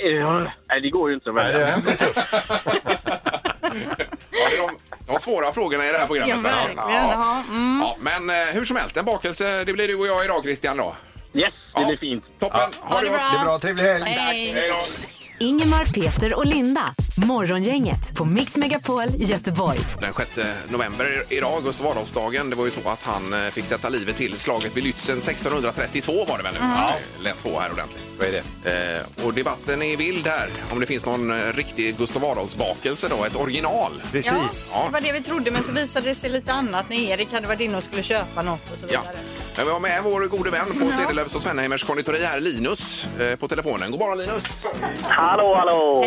[SPEAKER 9] eh, nej, det går ju inte. Nej, det
[SPEAKER 3] är tufft.
[SPEAKER 1] Ja, det är de, de svåra frågorna i det här programmet.
[SPEAKER 2] Ja,
[SPEAKER 1] va?
[SPEAKER 2] verkligen.
[SPEAKER 1] Ja.
[SPEAKER 2] Ja. Mm.
[SPEAKER 1] Ja, men eh, hur som helst, en bakelse det blir du och jag idag Christian då.
[SPEAKER 9] Yes, det blir fint.
[SPEAKER 1] Toppen! Ha det gott!
[SPEAKER 3] Det är bra. Trevlig helg.
[SPEAKER 1] Hej då.
[SPEAKER 4] Ingemar, Peter och Linda. Morgongänget på Mix Megapol Göteborg.
[SPEAKER 1] Den 6 november i- idag, Gustav Adolfsdagen, det var ju så att han eh, fick sätta livet till slaget vid Lützen 1632 var det väl nu?
[SPEAKER 10] Mm.
[SPEAKER 1] Ja, läst på här ordentligt. Vad är det? Eh, och debatten är vild här, om det finns någon eh, riktig Gustav Adolfsbakelse då, ett original.
[SPEAKER 2] Ja,
[SPEAKER 1] Ja.
[SPEAKER 2] det var det vi trodde men så visade det sig lite annat när Erik hade varit inne och skulle köpa något och så
[SPEAKER 1] Ja.
[SPEAKER 2] vidare.
[SPEAKER 1] Men vi har med vår gode vän på Cederlövs och Svenheimers konditori här, Linus, eh, på telefonen. God morgon Linus!
[SPEAKER 11] Hallå, hallå!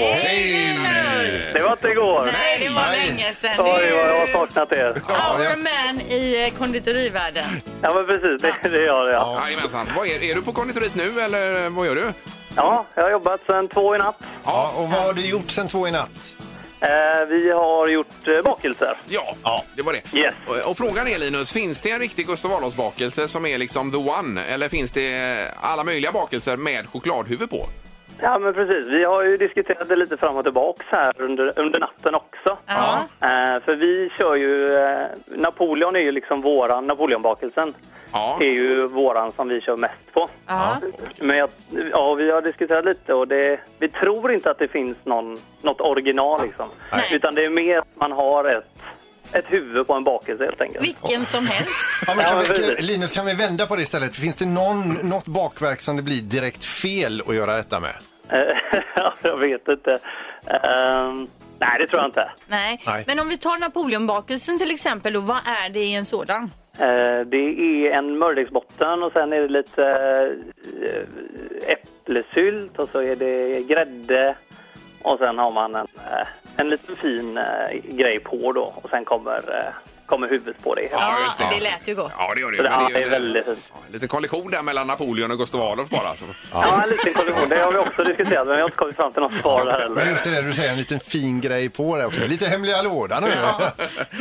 [SPEAKER 11] Det var inte igår.
[SPEAKER 2] Nej, det var länge sedan.
[SPEAKER 11] Oj, vad
[SPEAKER 2] Det är
[SPEAKER 11] jag har saknat er.
[SPEAKER 2] Our man i eh, konditorivärlden.
[SPEAKER 11] Ja, men precis. Det, det gör jag.
[SPEAKER 1] Ja. Jajamensan. Vad är, är du på konditoriet nu eller vad gör du?
[SPEAKER 11] Ja, jag har jobbat sedan två i natt.
[SPEAKER 3] Ja, och vad har du gjort sen två i natt?
[SPEAKER 11] Eh, vi har gjort eh, bakelser.
[SPEAKER 1] Ja, det var det. Och, och frågan är Linus, finns det en riktig Gustav Adolfsbakelse som är liksom the one? Eller finns det alla möjliga bakelser med chokladhuvud på?
[SPEAKER 11] Ja, men precis. Vi har ju diskuterat det lite fram och tillbaks här under, under natten också. Eh, för vi kör ju... Eh, Napoleon är ju liksom våran... Napoleonbakelsen
[SPEAKER 1] ja.
[SPEAKER 11] är ju våran som vi kör mest på.
[SPEAKER 2] Ja.
[SPEAKER 11] Men jag, ja, vi har diskuterat lite och det, vi tror inte att det finns någon, något original liksom. Utan det är mer att man har ett, ett huvud på en bakelse helt enkelt.
[SPEAKER 2] Vilken som helst.
[SPEAKER 3] Ja, men
[SPEAKER 11] Ja,
[SPEAKER 3] kan vi,
[SPEAKER 11] precis.
[SPEAKER 3] kan, Linus, kan vi vända på det istället? Finns det någon, något bakverk som det blir direkt fel att göra detta med?
[SPEAKER 11] Ja, jag vet inte. Ehm, nej, det tror jag inte.
[SPEAKER 2] Nej.
[SPEAKER 11] Nej.
[SPEAKER 2] men om vi tar Napoleonbakelsen till exempel, då, vad är det i en sådan?
[SPEAKER 11] Eh, det är en mördegsbotten och sen är det lite eh, äpplesylt och så är det grädde och sen har man en, eh, en liten fin eh, grej på då och sen kommer, eh, kommer huvudet på det.
[SPEAKER 1] Ja, just det.
[SPEAKER 2] Det lät ju gott.
[SPEAKER 1] Ja, det gör det ju.
[SPEAKER 11] Ja,
[SPEAKER 1] Men
[SPEAKER 11] det
[SPEAKER 1] ju
[SPEAKER 11] är
[SPEAKER 1] en-
[SPEAKER 11] väldigt
[SPEAKER 1] ja, en liten kollision där mellan Napoleon och Gustav Adolf bara. Alltså.
[SPEAKER 11] Ja, en liten kollision. Det har vi också diskuterat men vi har inte kommit fram till något svar där heller.
[SPEAKER 3] Men just det där du säger, en liten fin grej på det också. Lite hemliga lådan nu.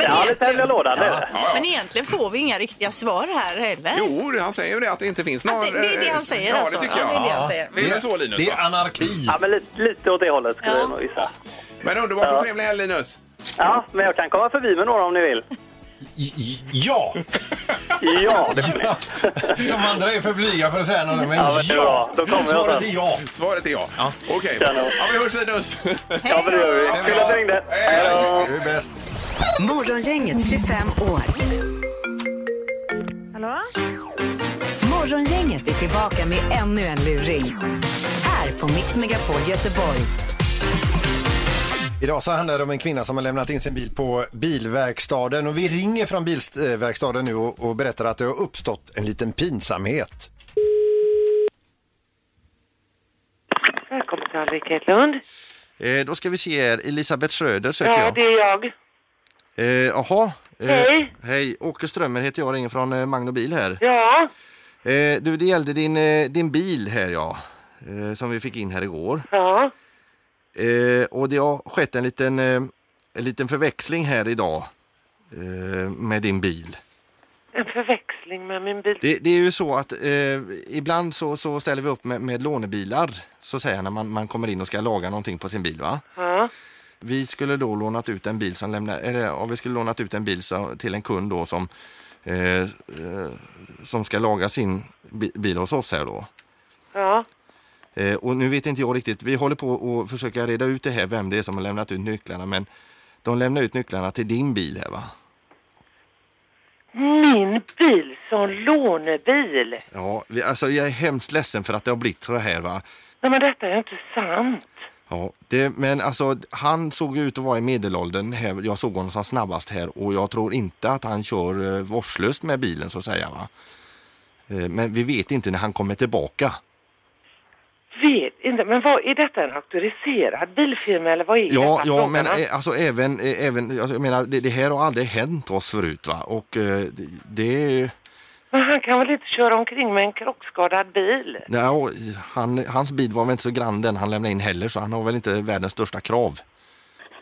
[SPEAKER 11] Ja, lite hemliga lådan.
[SPEAKER 3] det är det.
[SPEAKER 2] Men egentligen får vi inga riktiga svar här heller.
[SPEAKER 1] Jo, han säger ju det att det inte finns några...
[SPEAKER 2] det, det är det han säger
[SPEAKER 1] Ja,
[SPEAKER 2] alltså.
[SPEAKER 1] det tycker jag.
[SPEAKER 2] Ja, det är det han säger.
[SPEAKER 1] Det är väl så Linus?
[SPEAKER 3] Det är
[SPEAKER 1] va?
[SPEAKER 3] anarki.
[SPEAKER 11] Ja, men lite, lite åt det hållet skulle jag nog gissa.
[SPEAKER 1] Men underbart och trevlig helg Linus!
[SPEAKER 11] Ja, men jag kan komma förbi med några om ni vill.
[SPEAKER 3] Ja!
[SPEAKER 11] Ja!
[SPEAKER 3] De andra är för blyga för att säga något, men
[SPEAKER 11] Ja,
[SPEAKER 3] ja!
[SPEAKER 11] men det är bra. Då kommer jag
[SPEAKER 3] Svaret
[SPEAKER 11] sen.
[SPEAKER 3] är ja.
[SPEAKER 1] Svaret är ja. Okej.
[SPEAKER 11] Tjena.
[SPEAKER 1] Ja, vi hörs Linus!
[SPEAKER 11] Ja, men det gör vi. Kul att du ringde. Hej då!
[SPEAKER 3] Du är bäst.
[SPEAKER 4] Morgongänget 25 år.
[SPEAKER 7] Hallå?
[SPEAKER 4] Morgongänget är tillbaka med ännu en luring. Här på Mix Megapol Göteborg.
[SPEAKER 3] Idag så handlar det om en kvinna som har lämnat in sin bil på bilverkstaden och vi ringer från bilverkstaden nu och, och berättar att det har uppstått en liten pinsamhet.
[SPEAKER 12] Välkommen till Alrik Hedlund.
[SPEAKER 13] Eh, då ska vi se här. Elisabeth Schröder söker
[SPEAKER 12] Ja,
[SPEAKER 13] jag.
[SPEAKER 12] det är jag.
[SPEAKER 13] Eh, Jaha. Eh,
[SPEAKER 12] Hej.
[SPEAKER 13] Hej. Åke Strömmer heter jag. Ringer från eh, Magno Bil här.
[SPEAKER 12] Ja,
[SPEAKER 13] Eh, du, det gällde din, eh, din bil här ja. Eh, som vi fick in här igår.
[SPEAKER 12] ja,
[SPEAKER 13] Eh, och det har skett en liten, eh, en liten förväxling här idag. Eh, med din bil.
[SPEAKER 12] en förväxling med min bil.
[SPEAKER 13] Det, det är ju så att eh, ibland så, så ställer vi upp med, med lånebilar. Så säger jag när man, man kommer in och ska laga någonting på sin bil va.
[SPEAKER 12] Ja,
[SPEAKER 13] Vi skulle då lånat ut en bil som lämna, eller, ja, vi skulle lånat ut en bil som, till en kund då som, eh, eh, som ska laga sin bi- bil hos oss här då.
[SPEAKER 12] ja,
[SPEAKER 13] Eh, och nu vet inte jag riktigt, vi håller på och försöker reda ut det här vem det är som har lämnat ut nycklarna men de lämnar ut nycklarna till din bil här va?
[SPEAKER 12] min bil som lånebil.
[SPEAKER 13] Ja, vi, alltså jag är hemskt ledsen för att det har blivit så här va.
[SPEAKER 12] Nej, men detta är inte sant.
[SPEAKER 13] Ja, det, men alltså han såg ju ut att vara i medelåldern. Här, jag såg honom som snabbast här och jag tror inte att han kör eh, vårdslöst med bilen så att säga. Va? Eh, Men vi vet inte när han kommer tillbaka.
[SPEAKER 12] Vet inte, men vad är detta en auktoriserad bilfirma eller vad är
[SPEAKER 13] Ja,
[SPEAKER 12] detta
[SPEAKER 13] ja
[SPEAKER 12] frågan
[SPEAKER 13] men
[SPEAKER 12] om?
[SPEAKER 13] eh, alltså även, eh, även alltså, jag menar, det, det här har aldrig hänt oss förut va? Och eh, det, det
[SPEAKER 12] Men han kan väl inte köra omkring med en krockskadad bil?
[SPEAKER 13] nej, och han, hans bil var väl inte så grann den han lämnade in heller så han har väl inte världens största krav.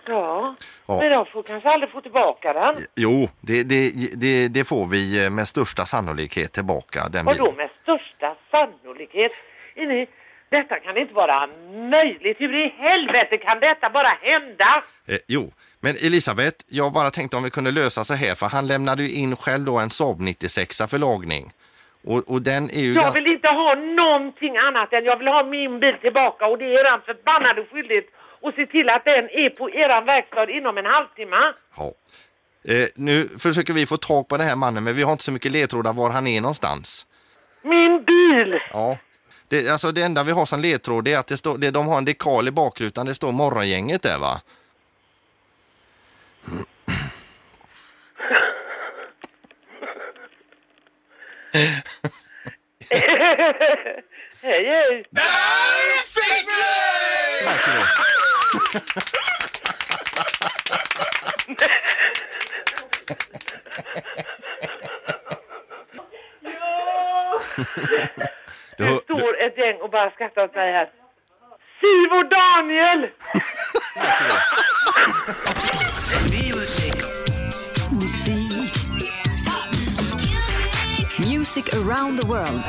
[SPEAKER 12] Ja,
[SPEAKER 13] Ja.
[SPEAKER 12] men de får kanske aldrig få tillbaka den.
[SPEAKER 13] Jo, det, det, det, det får vi eh, med största sannolikhet tillbaka den
[SPEAKER 12] Och
[SPEAKER 13] bilen.
[SPEAKER 12] då med största sannolikhet. Är ni, detta kan inte vara möjligt. Hur i helvete kan detta bara hända?
[SPEAKER 13] Eh, jo, men Elisabeth, jag bara tänkte om vi kunde lösa så här för han lämnade ju in själv då en Saab 96 för lagning. Och, och den är ju...
[SPEAKER 12] Jag
[SPEAKER 13] gan-
[SPEAKER 12] vill inte ha någonting annat än jag vill ha min bil tillbaka och det är eran förbannade skyldighet att se till att den är på eran verkstad inom en halvtimme.
[SPEAKER 13] Ja. Eh, nu försöker vi få tag på den här mannen men vi har inte så mycket ledtrådar var han är någonstans.
[SPEAKER 12] Min bil!
[SPEAKER 13] Ja. Det, alltså det enda vi har som ledtråd det är att det står, det, de har en dekal i bakrutan, det står morgongänget där va?
[SPEAKER 12] hej, hej!
[SPEAKER 13] Du,
[SPEAKER 12] Det
[SPEAKER 13] hör- du,
[SPEAKER 12] står ett gäng och bara skrattar åt mig här. Siv och Daniel!
[SPEAKER 4] Musik. Music around the world.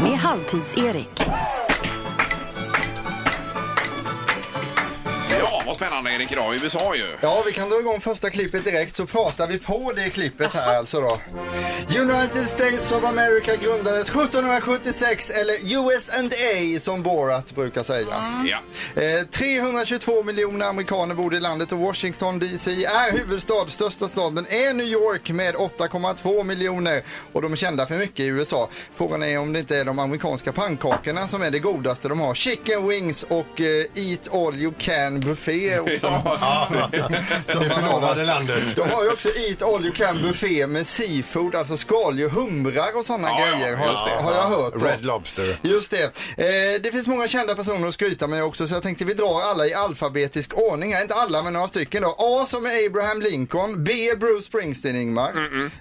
[SPEAKER 4] Med Halvtids-Erik.
[SPEAKER 1] Ja, vad spännande Erik idag i USA ju.
[SPEAKER 5] Ja, vi kan dra igång första klippet direkt så pratar vi på det klippet här alltså då. United States of America grundades 1776 eller US&A som Borat brukar säga.
[SPEAKER 1] Ja.
[SPEAKER 5] Eh, 322 miljoner amerikaner bor i landet och Washington DC är huvudstad. Största staden är New York med 8,2 miljoner och de är kända för mycket i USA. Frågan är om det inte är de amerikanska pannkakorna som är det godaste de har. Chicken wings och eh, Eat all you can buffé också.
[SPEAKER 3] Så det förlovade landet.
[SPEAKER 5] De har ju också Eat All You Can buffé med seafood, alltså skaldjur, humrar och sådana
[SPEAKER 3] Ja, ja,
[SPEAKER 5] grejer har,
[SPEAKER 3] just det.
[SPEAKER 5] har jag hört. då.
[SPEAKER 3] Red Lobster.
[SPEAKER 5] Just det. Eh, det finns många kända personer att skryta med också så jag tänkte vi drar alla i alfabetisk ordning här. Inte alla men några stycken då. A som är Abraham Lincoln, B Bruce Springsteen Ingmar,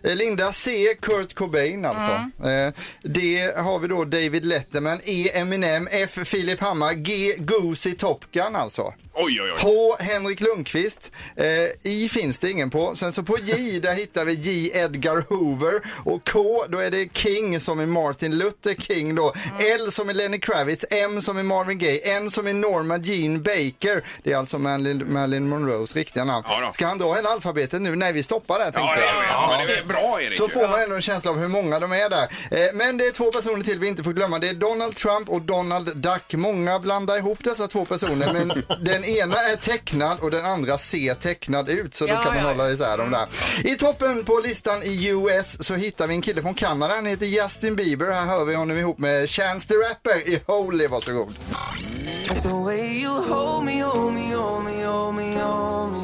[SPEAKER 5] Eh, Linda C Kurt Cobain alltså. Eh, D har vi då David Letterman, E Eminem, F Filip Hammar, G Goose i Top Gun alltså.
[SPEAKER 1] Oj, oj, oj.
[SPEAKER 5] H. Henrik Lundqvist. Eh, I finns det ingen på. Sen så på J där hittar vi J. Edgar Hoover. Och K då är det King som är Martin Luther King då. L som är Lenny Kravitz. M som är Marvin Gaye. N som är Norma Jean Baker. Det är alltså Marilyn, Marilyn Monroes riktiga namn. Ska han dra hela alfabetet nu? Nej, vi stoppar där tänkte jag.
[SPEAKER 1] Ja, men det är bra Erik.
[SPEAKER 5] Så får man ändå en känsla av hur många de är där. Eh, Men det är två personer till vi inte får glömma. Det är Donald Trump och Donald Duck. Många blandar ihop dessa två personer men den ena är tecknad och den andra ser tecknad ut så då
[SPEAKER 14] Ja,
[SPEAKER 5] kan man
[SPEAKER 14] ja,
[SPEAKER 5] hålla isär dem där. I toppen på listan i US så hittar vi en kille från Kanada. Han heter Justin Bieber. Här hör vi honom ihop med Chance the Rapper i Holy. Varsågod.
[SPEAKER 8] The way you hold me, hold me, hold me, hold me, hold me.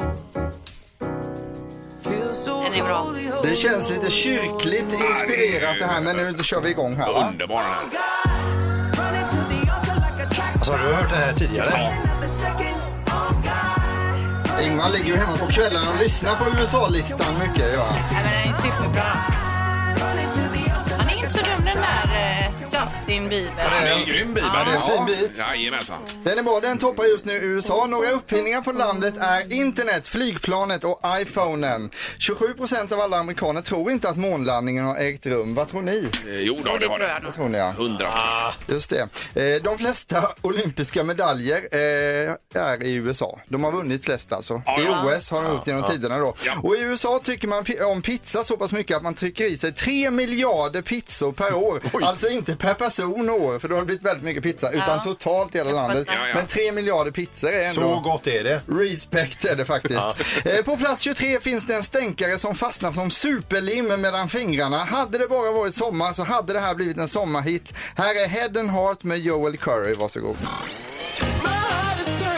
[SPEAKER 8] Feels so
[SPEAKER 2] Den är bra.
[SPEAKER 5] Det känns lite kyrkligt inspirerat det här men nu kör vi igång här. Va?
[SPEAKER 1] Underbar den här.
[SPEAKER 3] Alltså, har du hört det här tidigare?
[SPEAKER 5] Ingmar ligger ju hemma på kvällarna och lyssnar på USA-listan mycket. Ja.
[SPEAKER 2] Nej, men den är superbra. Han är inte så dum den där eh, Justin Bieber.
[SPEAKER 1] Ja, det är en grym bibel.
[SPEAKER 5] Ja, det är en fin bit.
[SPEAKER 1] Jajamensan.
[SPEAKER 5] Den är bra, den toppar just nu USA. Några uppfinningar från landet är internet, flygplanet och iPhonen. 27 procent av alla amerikaner tror inte att månlandningen har ägt rum. Vad tror ni?
[SPEAKER 1] Eh, Jo då, det har den. Det
[SPEAKER 5] tror ni ja.
[SPEAKER 1] Hundra procent.
[SPEAKER 5] Just det. Eh, De flesta olympiska medaljer eh, är i USA. De har vunnit flest alltså. I
[SPEAKER 1] ja.
[SPEAKER 5] OS har de gjort genom
[SPEAKER 1] Ja.
[SPEAKER 5] tiderna då. Och i USA tycker man pi- om pizza så pass mycket att man trycker i sig 3 miljarder pizzor per år. Alltså inte per person och år, för då har det blivit väldigt mycket pizza, utan totalt i hela landet.
[SPEAKER 3] fattar. Ja, ja.
[SPEAKER 5] Men 3 miljarder pizzor är ändå...
[SPEAKER 3] Så gott är det.
[SPEAKER 5] Respect är det faktiskt. Eh, På plats 23 finns det en stänkare som fastnar som superlim mellan fingrarna. Hade det bara varit sommar så hade det här blivit en sommarhit. Här är Head and Heart med Joel Curry, varsågod.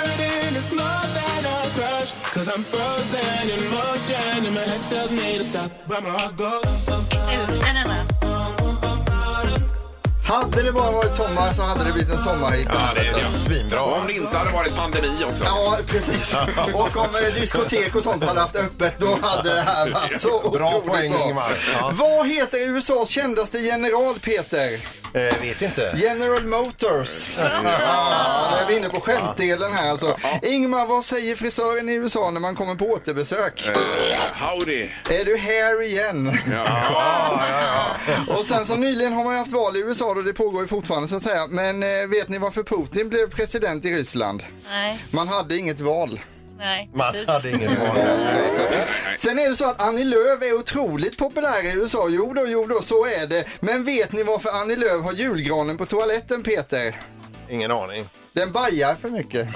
[SPEAKER 2] Älskar den här.
[SPEAKER 5] Hade det bara varit sommar så hade det blivit en sommarhit.
[SPEAKER 1] Ja, det är det.
[SPEAKER 5] Svinbra.
[SPEAKER 1] Och om det inte hade varit pandemi också.
[SPEAKER 5] Ja, precis. Och om eh, diskotek och sånt hade haft öppet då hade det här varit
[SPEAKER 3] Bra
[SPEAKER 5] så otroligt
[SPEAKER 3] poäng, Ingemar. Ja.
[SPEAKER 5] Vad heter USAs kändaste general, Peter?
[SPEAKER 3] Eh, vet inte.
[SPEAKER 5] General Motors. Ja, då är vi inne på skämtdelen här alltså. Ingmar, vad säger frisören i USA när man kommer på återbesök?
[SPEAKER 1] Howdy!
[SPEAKER 3] Eh.
[SPEAKER 5] Är du här igen? Och sen så nyligen har man ju haft val i USA och det pågår ju fortfarande så att säga. Men eh, vet ni varför Putin blev president i Ryssland?
[SPEAKER 6] Nej,
[SPEAKER 5] Man hade inget val.
[SPEAKER 6] nej,
[SPEAKER 5] Man
[SPEAKER 6] precis.
[SPEAKER 5] hade ingen Sen är det så att Annie Lööf är otroligt populär i USA. Jo då, jo då, så är det. Men vet ni varför Annie Lööf har julgranen på toaletten, Peter?
[SPEAKER 3] Ingen aning.
[SPEAKER 5] Den bajar för mycket.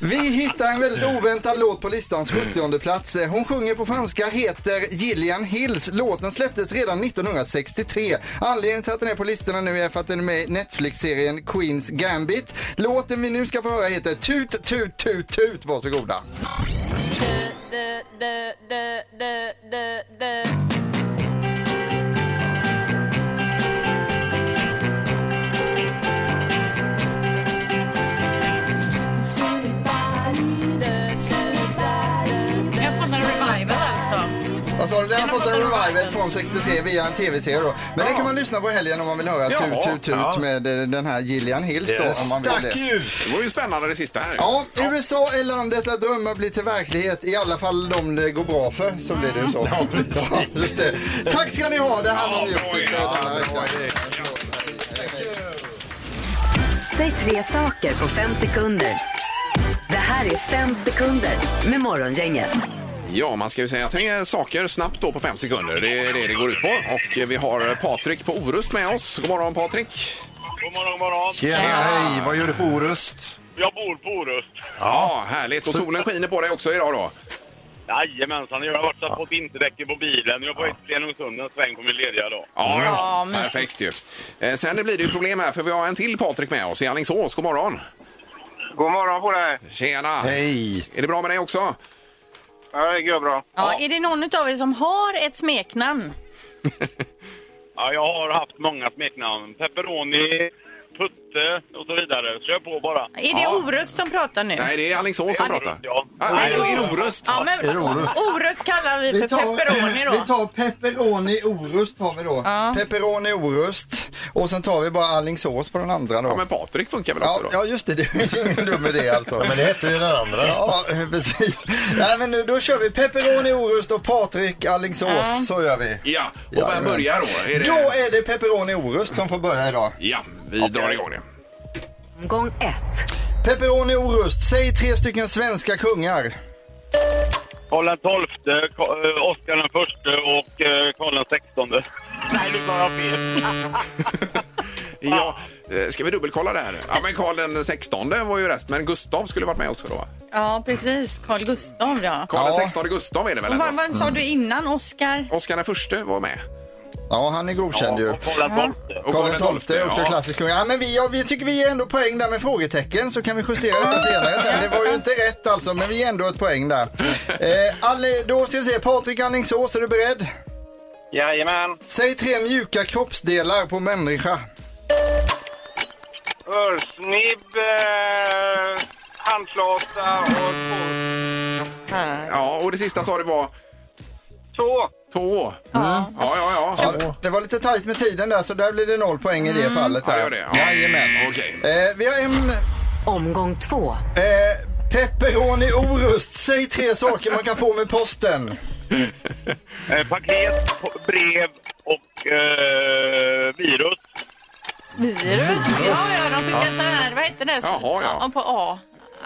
[SPEAKER 5] Vi hittar en väldigt oväntad låt på listans 70 plats. Hon sjunger på franska, heter Gillian Hills. Låten släpptes redan 1963. Anledningen till att den är på listorna nu är för att den är med i Netflix-serien Queens Gambit. Låten vi nu ska få höra heter Tut, tut, tut, tut. Varsågoda.
[SPEAKER 6] Jag får en revival alltså.
[SPEAKER 5] Vad sa du? Den har fått en revival från 63 via en tv-serie då. Men den kan man lyssna på i helgen om man vill höra
[SPEAKER 1] Jaha.
[SPEAKER 5] Tut, tut, tut
[SPEAKER 1] Ja.
[SPEAKER 5] med eh, den här Gillian Hills då. Om man vill det.
[SPEAKER 1] Det var ju spännande det sista här.
[SPEAKER 5] Ja, USA är landet där drömmar blir till verklighet. I alla fall de det går bra för. Så blir det ju så. Ja, just det. Tack ska ni ha. Det här var Music för den här veckan.
[SPEAKER 4] Säg tre saker på fem sekunder. Det här är fem sekunder med Morgongänget.
[SPEAKER 1] Ja, man ska ju säga tänk, saker snabbt då på fem sekunder. Det är det det går ut på. Och eh, vi har Patrik på Orust med oss. God morgon Patrik!
[SPEAKER 14] God morgon, god morgon.
[SPEAKER 3] Tjena, hej. Vad gör du på Orust?
[SPEAKER 14] Jag bor på Orust.
[SPEAKER 1] Ja, härligt. Och solen skiner på dig också idag då.
[SPEAKER 14] Jajamensan, jag har varit och fått vinterdäcken på bilen. Jag var på ett Stenungsund en sväng på min lediga dag.
[SPEAKER 1] Ja, ja. perfekt ju. Eh, Sen blir det ju problem här för vi har en till Patrik med oss i Alingsås. God morgon!
[SPEAKER 14] God morgon på dig.
[SPEAKER 1] Tjena! Hej! Är det bra med dig också?
[SPEAKER 14] Ja, det går bra.
[SPEAKER 6] Ja, är det någon av er som har ett smeknamn?
[SPEAKER 14] Ja, jag har haft många smeknamn. Pepperoni, Putte och så vidare. Kör på bara.
[SPEAKER 2] Är det Orust som pratar nu?
[SPEAKER 1] Nej, det är Alingsås som pratar.
[SPEAKER 14] Ja.
[SPEAKER 1] Ah, är det- är det Orust?
[SPEAKER 2] Ja, men
[SPEAKER 1] Är det Orust?
[SPEAKER 2] Orust kallar vi för
[SPEAKER 5] Vi tar-
[SPEAKER 2] pepperoni
[SPEAKER 5] Vi
[SPEAKER 2] då.
[SPEAKER 5] tar pepperoni orust har vi då. Pepperoni orust. Och sen tar vi bara Alingsås på den andra då. Ja men
[SPEAKER 1] Patrik funkar väl
[SPEAKER 5] ja,
[SPEAKER 1] också då?
[SPEAKER 5] Ja just det, det är ingen dum idé alltså.
[SPEAKER 3] Ja, men det hette ju den andra.
[SPEAKER 5] Ja eh, precis. Nej men nu, då kör vi pepperoni orust och Patrik Alingsås.
[SPEAKER 1] Ja.
[SPEAKER 5] Så gör vi.
[SPEAKER 1] Ja, och vem
[SPEAKER 5] Jajamän.
[SPEAKER 1] börjar då? Är det...
[SPEAKER 5] Då är det pepperoni orust som får börja idag.
[SPEAKER 1] Ja, vi drar igång det.
[SPEAKER 4] Omgång ett.
[SPEAKER 5] Pepperoni orust, säg tre stycken svenska kungar.
[SPEAKER 14] Karl den tolfte, Ka- eh, Oscar den förste och eh, Karl den sextonde. Nej, nu tar jag fel.
[SPEAKER 1] Ja, eh, ska vi dubbelkolla det här? Ja, men Karl den 16 var ju rest, men Gustav skulle varit med också då. va?
[SPEAKER 2] Ja, precis. Carl Gustav ja.
[SPEAKER 1] Karl den 16 Gustav är det väl
[SPEAKER 2] Och
[SPEAKER 1] ändå?
[SPEAKER 2] vad, vad sa du innan, Oscar?
[SPEAKER 1] Oskar den förste var med.
[SPEAKER 5] Ja, han är godkänd ju.
[SPEAKER 1] Och
[SPEAKER 5] Karl den tolfte är också
[SPEAKER 1] ja.
[SPEAKER 5] klassisk kung. Ja, men vi, ja, vi tycker vi ger ändå poäng där med frågetecken så kan vi justera detta senare sen. Det var ju inte rätt alltså, men vi ger ändå ett poäng där. Eh, Alli, då ska vi se, Patrik Anningsås, är du beredd?
[SPEAKER 14] Jajamän.
[SPEAKER 5] Säg tre mjuka kroppsdelar på människa.
[SPEAKER 14] Örsnibb, eh, handflata och
[SPEAKER 1] Ja, och det sista sa du var?
[SPEAKER 14] Tå.
[SPEAKER 1] Tå. Ja, ja, ja.
[SPEAKER 5] Ja, det var lite tajt med tiden där, så där blir det noll poäng i det
[SPEAKER 3] Mm.
[SPEAKER 5] fallet.
[SPEAKER 1] Ja,
[SPEAKER 5] Där.
[SPEAKER 1] gör det. Ja. Jajamän. Okej.
[SPEAKER 5] Eh, vi har en...
[SPEAKER 4] Omgång två.
[SPEAKER 5] Eh, pepperoni orust, säg tre saker man kan få med posten.
[SPEAKER 14] Eh, paket, po- brev och eh, virus.
[SPEAKER 6] Virus? Ja, ja, de fick en sån här, vad heter det?
[SPEAKER 5] Jaha, ja.
[SPEAKER 6] På A.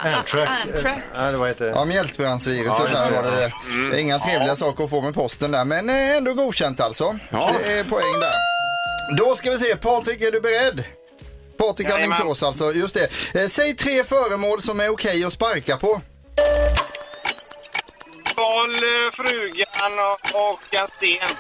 [SPEAKER 5] Antrax.
[SPEAKER 6] Antrax.
[SPEAKER 5] Ja, det var inte... Ja, mjältbrandsviruset
[SPEAKER 3] Ja, Mm. just
[SPEAKER 5] där
[SPEAKER 3] det.
[SPEAKER 5] var det det. Det är inga trevliga saker att få med posten där, men eh, ändå godkänt alltså. Det är poäng där. Då ska vi se, Patrik, är du beredd? Patrik
[SPEAKER 14] Jajamän.
[SPEAKER 5] Alingsås alltså, just det. Eh, Säg tre föremål som är okej att sparka på.
[SPEAKER 14] Karl, eh, frugan och, och en sten.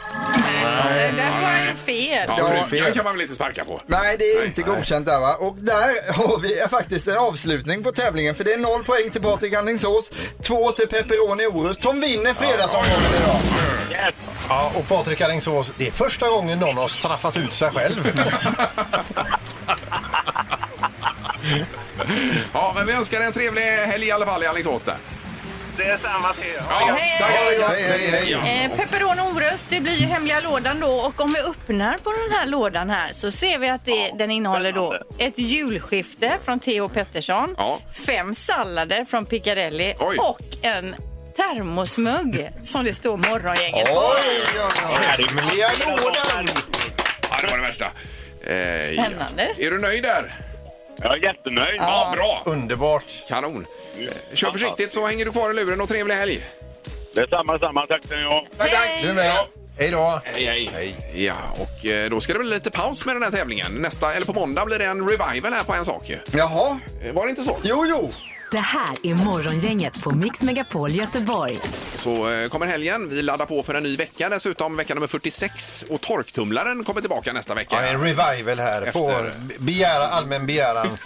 [SPEAKER 6] Det där var ju fel.
[SPEAKER 1] Ja, frugan kan man väl inte sparka på?
[SPEAKER 5] Nej, det är inte godkänt där va. Och där har vi faktiskt en avslutning på tävlingen för det är noll poäng till Patrik Alingsås, två till Pepperoni Orust som vinner fredagsomgången idag.
[SPEAKER 14] Yes.
[SPEAKER 3] Ja, och Patrik Alingsås, det är första gången någon har straffat ut sig själv.
[SPEAKER 1] Ja, men vi önskar en trevlig helg i alla fall i Alingsås där.
[SPEAKER 14] Det är samma till er.
[SPEAKER 1] Ja, tack, tack, tack. Ja.
[SPEAKER 2] Eh, Pepperoni och oröst, det blir ju hemliga lådan då och om vi öppnar på den här lådan här så ser vi att det, den innehåller då ett julskifte från Theo Pettersson,
[SPEAKER 1] Ja.
[SPEAKER 2] fem sallader från Piccadilly
[SPEAKER 1] Oj.
[SPEAKER 2] och en termosmugg som det står Morgongänget på.
[SPEAKER 3] Hemliga lådan!
[SPEAKER 1] Ja, det var det värsta. Eh, ja.
[SPEAKER 2] Spännande.
[SPEAKER 1] Är du nöjd där?
[SPEAKER 14] Jag är jättenöjd.
[SPEAKER 1] Ja, bra!
[SPEAKER 3] Underbart.
[SPEAKER 1] Kanon. Eh, Kör försiktigt så hänger du kvar i luren och trevlig helg.
[SPEAKER 14] Det är samma, samma. Tack ska ni ha.
[SPEAKER 1] Tack, tack!
[SPEAKER 3] Du med. Hej då.
[SPEAKER 1] Hej, hej. Ja, och eh, då ska det bli lite paus med den här tävlingen. Nästa, eller på måndag blir det en revival här på en sak ju.
[SPEAKER 3] Jaha.
[SPEAKER 1] Eh, Var det inte så?
[SPEAKER 3] Jo, jo.
[SPEAKER 4] Det här är Morgongänget på Mix Megapol Göteborg.
[SPEAKER 1] Så eh, kommer helgen. Vi laddar på för en ny vecka dessutom, vecka nummer 46. Och torktumlaren kommer tillbaka nästa
[SPEAKER 3] Ja,
[SPEAKER 1] vecka.
[SPEAKER 3] en revival här. Får begära, allmän begäran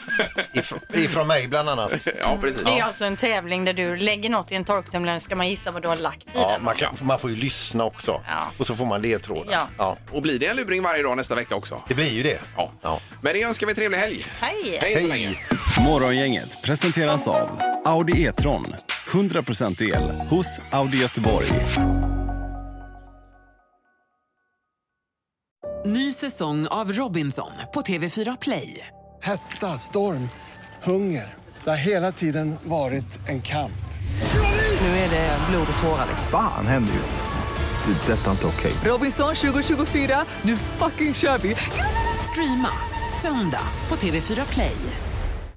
[SPEAKER 3] if- ifrån mig bland annat.
[SPEAKER 1] Ja, precis.
[SPEAKER 2] Det är alltså en tävling där du lägger något i en torktumlare ska man gissa vad du har lagt i
[SPEAKER 3] Ja,
[SPEAKER 2] den.
[SPEAKER 3] man, kan, man får ju lyssna också. Och så får man ledtrådar.
[SPEAKER 2] Ja.
[SPEAKER 1] Och blir det en luring varje dag nästa vecka också?
[SPEAKER 3] Det blir ju det.
[SPEAKER 1] Ja. Men det önskar vi trevlig helg.
[SPEAKER 2] Hej!
[SPEAKER 1] Hej så länge.
[SPEAKER 15] Morgongänget presenteras av Audi E-tron. 100% el hos Audi Göteborg.
[SPEAKER 8] Ny säsong av Robinson på TV4 Play.
[SPEAKER 16] Hetta, storm, hunger. Det har hela tiden varit en kamp.
[SPEAKER 8] Nu är det blod och tårar.
[SPEAKER 17] Fan händer just det. Det är detta inte okej.
[SPEAKER 8] Robinson 2024, nu fucking kör vi! Streama söndag på TV4 Play.